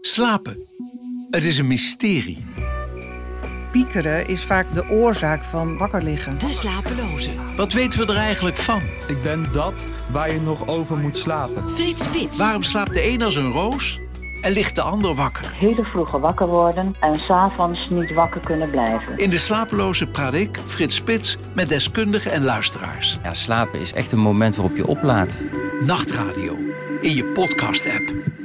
Slapen. Het is een mysterie. Piekeren is vaak de oorzaak van wakker liggen. De slapeloze. Wat weten we er eigenlijk van? Ik ben dat waar je nog over moet slapen. Frits Spits. Waarom slaapt de een als een roos en ligt de ander wakker? Hele vroeg wakker worden en s'avonds niet wakker kunnen blijven. In De Slapeloze praat ik, Frits Spits, met deskundigen en luisteraars. Ja, slapen is echt een moment waarop je oplaadt. Nachtradio. In je podcast-app.